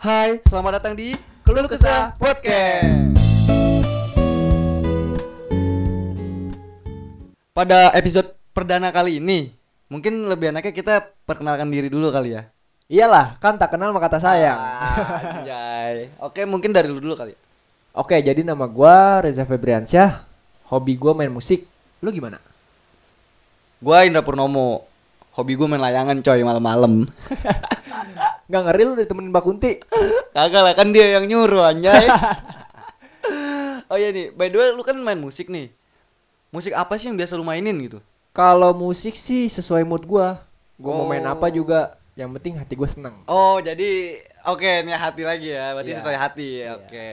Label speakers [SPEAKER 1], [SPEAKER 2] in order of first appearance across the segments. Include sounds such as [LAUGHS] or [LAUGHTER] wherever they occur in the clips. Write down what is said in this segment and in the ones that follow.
[SPEAKER 1] Hai, selamat datang di Keluh Kesah Podcast. Pada episode perdana kali ini, mungkin lebih enaknya kita perkenalkan diri dulu kali ya.
[SPEAKER 2] Iyalah, kan tak kenal maka tak sayang.
[SPEAKER 1] Ah, anjay. Oke, mungkin dari lu dulu kali.
[SPEAKER 2] Oke, jadi nama gua Reza Febriansyah. Hobi gua main musik. Lu
[SPEAKER 1] [LAUGHS]
[SPEAKER 2] gimana?
[SPEAKER 1] Gua Indra Purnomo. Hobi gue main layangan coy malam-malam.
[SPEAKER 2] Gak ngeri lu ditemenin Mbak Kunti?
[SPEAKER 1] Kagak lah kan dia yang nyuruh anjay. [LAUGHS] oh iya nih, by the way lu kan main musik nih. Musik apa sih yang biasa lu mainin gitu?
[SPEAKER 2] Kalau musik sih sesuai mood gua. Gua mau main
[SPEAKER 1] Oh.
[SPEAKER 2] apa juga, yang penting hati gua seneng.
[SPEAKER 1] Oh, jadi oke nih hati lagi ya. Berarti
[SPEAKER 2] Iya.
[SPEAKER 1] sesuai hati. Oke.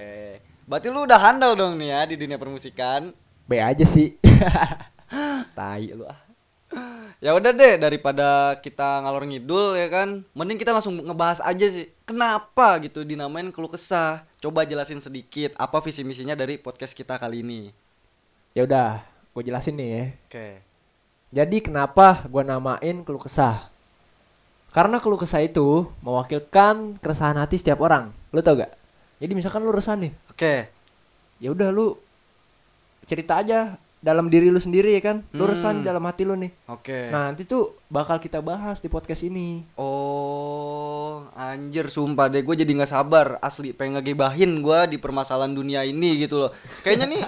[SPEAKER 1] Berarti lu udah handal dong nih ya di dunia permusikan.
[SPEAKER 2] Be aja
[SPEAKER 1] [LAUGHS]
[SPEAKER 2] sih.
[SPEAKER 1] Tai lu ah. Ya udah deh daripada kita ngalor ngidul ya kan. Mending kita langsung ngebahas aja sih. Kenapa gitu dinamain keluh kesah? Coba jelasin sedikit apa visi misinya dari podcast kita kali ini.
[SPEAKER 2] ya udah, gua jelasin nih ya.
[SPEAKER 1] Oke.
[SPEAKER 2] Jadi kenapa gua namain keluh kesah? Karena keluh kesah itu mewakilkan keresahan hati setiap orang. Lu tau gak? Jadi misalkan lu resah nih,
[SPEAKER 1] Oke.
[SPEAKER 2] ya udah lu cerita aja dalam diri lu sendiri ya kan lu
[SPEAKER 1] Hmm.
[SPEAKER 2] resah di dalam hati lu nih
[SPEAKER 1] Oke.
[SPEAKER 2] nah nanti tuh bakal kita bahas di podcast ini
[SPEAKER 1] Oh, anjir sumpah deh gue jadi nggak sabar asli pengen ngegebahin gue di permasalahan dunia ini gitu loh. Kayaknya nih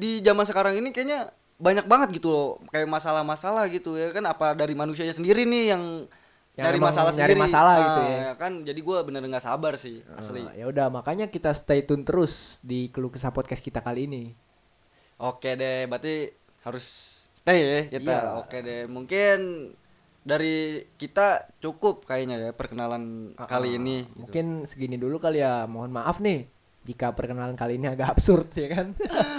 [SPEAKER 1] di zaman sekarang ini kayaknya banyak banget gitu loh kayak masalah-masalah gitu ya kan apa dari manusianya sendiri nih yang,
[SPEAKER 2] Yang
[SPEAKER 1] dari
[SPEAKER 2] emang
[SPEAKER 1] masalah
[SPEAKER 2] nyari
[SPEAKER 1] sendiri.
[SPEAKER 2] masalah gitu ya.
[SPEAKER 1] kan jadi gue bener nggak sabar sih asli.
[SPEAKER 2] Nah, ya udah makanya kita stay tune terus di keluh kesah podcast kita kali ini
[SPEAKER 1] Oke deh, berarti harus stay ya kita.
[SPEAKER 2] Iyalah.
[SPEAKER 1] Oke deh, mungkin dari kita cukup kayaknya ya perkenalan
[SPEAKER 2] Ah,
[SPEAKER 1] kali ini. gitu.
[SPEAKER 2] mungkin segini dulu kali ya mohon maaf nih jika perkenalan kali ini agak absurd ya
[SPEAKER 1] [LAUGHS]
[SPEAKER 2] kan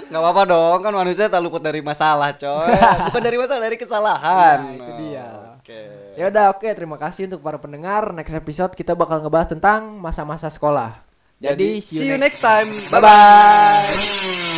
[SPEAKER 1] Gak apa-apa dong, kan manusia tak luput dari masalah
[SPEAKER 2] [LAUGHS]
[SPEAKER 1] coy Bukan dari masalah, dari kesalahan
[SPEAKER 2] Iya, itu dia.
[SPEAKER 1] Oke
[SPEAKER 2] ya udah oke terima kasih untuk para pendengar next episode kita bakal ngebahas tentang masa-masa sekolah jadi,
[SPEAKER 1] Jadi, see you next time Bye-bye